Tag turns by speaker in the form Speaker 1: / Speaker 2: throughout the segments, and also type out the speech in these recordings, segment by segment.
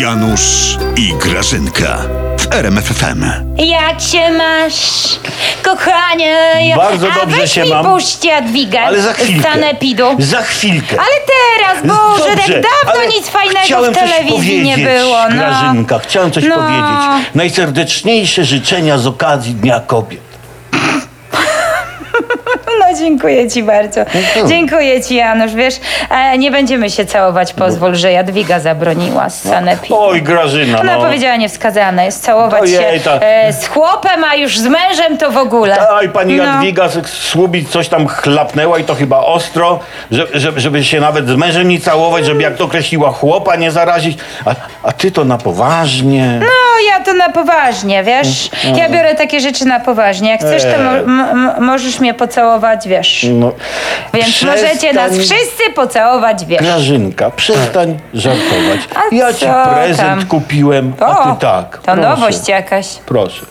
Speaker 1: Janusz i Grażynka w RMFFM.
Speaker 2: Jak się masz, kochanie? Ja-
Speaker 3: Bardzo
Speaker 2: A
Speaker 3: dobrze
Speaker 2: weź
Speaker 3: się
Speaker 2: mi
Speaker 3: mam.
Speaker 2: puść Jadwigę
Speaker 3: Ale za chwilkę.
Speaker 2: z sanepidu.
Speaker 3: Za chwilkę.
Speaker 2: Ale teraz, Boże, tak
Speaker 3: ale
Speaker 2: dawno nic fajnego
Speaker 3: chciałem
Speaker 2: w
Speaker 3: coś
Speaker 2: telewizji nie
Speaker 3: powiedzieć,
Speaker 2: było. No.
Speaker 3: Grażynka, chciałem coś
Speaker 2: No.
Speaker 3: powiedzieć. Najserdeczniejsze życzenia z okazji Dnia Kobiet.
Speaker 2: No dziękuję ci bardzo.
Speaker 3: No
Speaker 2: Dziękuję ci, Janusz. Wiesz, e, nie będziemy się całować, pozwól, że Jadwiga zabroniła z sanepidu.
Speaker 3: Oj, Grażyna,
Speaker 2: Ona
Speaker 3: no.
Speaker 2: powiedziała niewskazane jest całować
Speaker 3: Ojej,
Speaker 2: się
Speaker 3: ta-
Speaker 2: e, z chłopem, a już z mężem to w ogóle.
Speaker 3: Aj, pani
Speaker 2: No.
Speaker 3: Jadwiga z Słubic coś tam chlapnęła i to chyba ostro, że, że, żeby się nawet z mężem nie całować, żeby jak to określiła chłopa nie zarazić. A, a ty to na poważnie.
Speaker 2: No, ja to na poważnie, wiesz?
Speaker 3: Mm,
Speaker 2: Ja biorę takie rzeczy na poważnie. Jak chcesz, to mo- m- m- możesz mnie pocałować, wiesz?
Speaker 3: No.
Speaker 2: Więc możecie nas
Speaker 3: Przestań-
Speaker 2: wszyscy pocałować, wiesz?
Speaker 3: Grażynka, przestań żartować.
Speaker 2: A
Speaker 3: ja ci
Speaker 2: co
Speaker 3: prezent
Speaker 2: tam?
Speaker 3: kupiłem, a ty tak.
Speaker 2: to nowość jakaś.
Speaker 3: Proszę.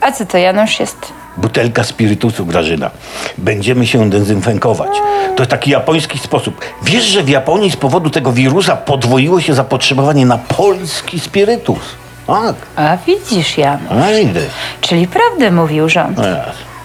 Speaker 2: A co to Janusz jest?
Speaker 3: Butelka spirytusu, Grażyna. Będziemy się dezynfekować. To taki japoński sposób. Wiesz, że w Japonii z powodu tego wirusa podwoiło się zapotrzebowanie na polski spirytus. Tak,
Speaker 2: A widzisz, Janusz.
Speaker 3: ajdę.
Speaker 2: Czyli prawdę mówił rząd,
Speaker 3: Ech.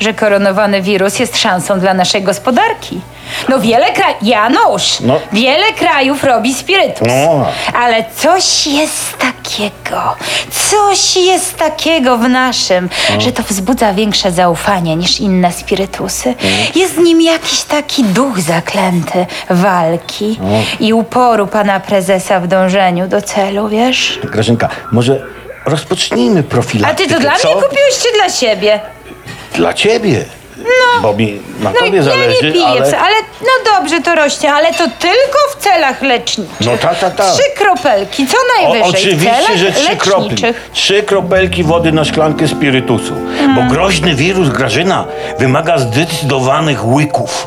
Speaker 2: że koronowany wirus jest szansą dla naszej gospodarki. No wiele krajów... Janusz!
Speaker 3: No.
Speaker 2: Wiele krajów robi spirytus.
Speaker 3: No.
Speaker 2: Ale coś jest takiego, coś jest takiego w naszym,
Speaker 3: No.
Speaker 2: że to wzbudza większe zaufanie niż inne spirytusy.
Speaker 3: No.
Speaker 2: Jest w nim jakiś taki duch zaklęty walki
Speaker 3: No.
Speaker 2: i uporu pana prezesa w dążeniu do celu, wiesz?
Speaker 3: Grażynka, może rozpocznijmy
Speaker 2: A
Speaker 3: profilaktykę,
Speaker 2: ty to dla
Speaker 3: co?
Speaker 2: mnie kupiłeś czy dla siebie?
Speaker 3: Dla ciebie. No. Bo mi na
Speaker 2: No
Speaker 3: tobie
Speaker 2: ja
Speaker 3: zależy,
Speaker 2: nie piję,
Speaker 3: ale...
Speaker 2: ale... ale no dobrze, to rośnie, ale to tylko w celach leczniczych.
Speaker 3: No ta, ta, ta.
Speaker 2: Trzy kropelki, co
Speaker 3: O,
Speaker 2: najwyżej. w
Speaker 3: oczywiście,
Speaker 2: celach
Speaker 3: że trzy kropli.
Speaker 2: leczniczych. Hmm.
Speaker 3: Trzy kropelki wody na szklankę spirytusu. Bo groźny wirus Grażyna wymaga zdecydowanych łyków.